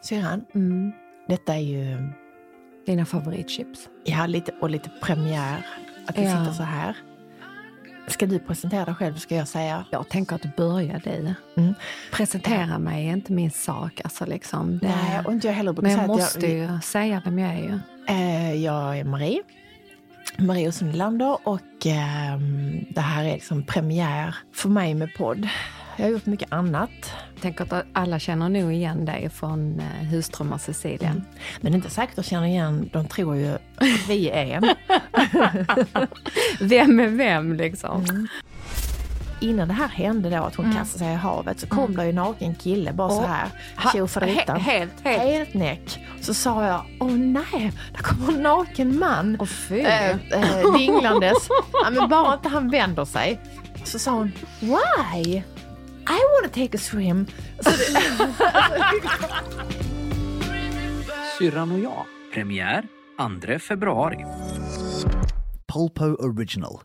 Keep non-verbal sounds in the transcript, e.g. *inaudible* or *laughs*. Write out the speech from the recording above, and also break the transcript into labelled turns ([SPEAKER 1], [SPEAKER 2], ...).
[SPEAKER 1] syrran.
[SPEAKER 2] Mm.
[SPEAKER 1] Detta är ju,
[SPEAKER 2] Dina favoritchips.
[SPEAKER 1] ja, lite, och lite premiär, att vi
[SPEAKER 2] Ja.
[SPEAKER 1] sitter så här. Ska du presentera dig själv, ska jag säga?
[SPEAKER 2] Jag tänker att börja du.
[SPEAKER 1] Mm.
[SPEAKER 2] Presentera mig är inte min sak. Alltså liksom, det...
[SPEAKER 1] Nej, och inte jag heller brukar
[SPEAKER 2] Men jag
[SPEAKER 1] säga
[SPEAKER 2] måste
[SPEAKER 1] att jag,
[SPEAKER 2] ju säga vem jag är ju.
[SPEAKER 1] eh, jag är Marie. Marie Olsson Nylander och ehm, det här är liksom premiär för mig med podd. Jag har gjort mycket annat,
[SPEAKER 2] Jag tänker att alla känner nog igen dig från eh, Husdrömmar Sicilien.
[SPEAKER 1] men det är inte säkert att känner igen, de tror ju att vi är en.
[SPEAKER 2] *laughs* Vem är vem liksom?
[SPEAKER 1] Mm. Innan det här hände då, att hon
[SPEAKER 2] Mm.
[SPEAKER 1] kastade sig i havet, så kom det ju en naken kille bara så
[SPEAKER 2] Åh.
[SPEAKER 1] här,
[SPEAKER 2] Mm. Ha-
[SPEAKER 1] tjofaderittan.
[SPEAKER 2] he- helt, helt.
[SPEAKER 1] Helt näck. Så sa jag, åh nej, där kommer en naken man.
[SPEAKER 2] Åh fy.
[SPEAKER 1] eh, eh, dinglandes. ja, men bara inte han vänder sig. Så sa hon, why? I want to take a swim. Så det,
[SPEAKER 3] Syrran och jag.
[SPEAKER 4] Premiär 2 februari.
[SPEAKER 5] Polpo Original.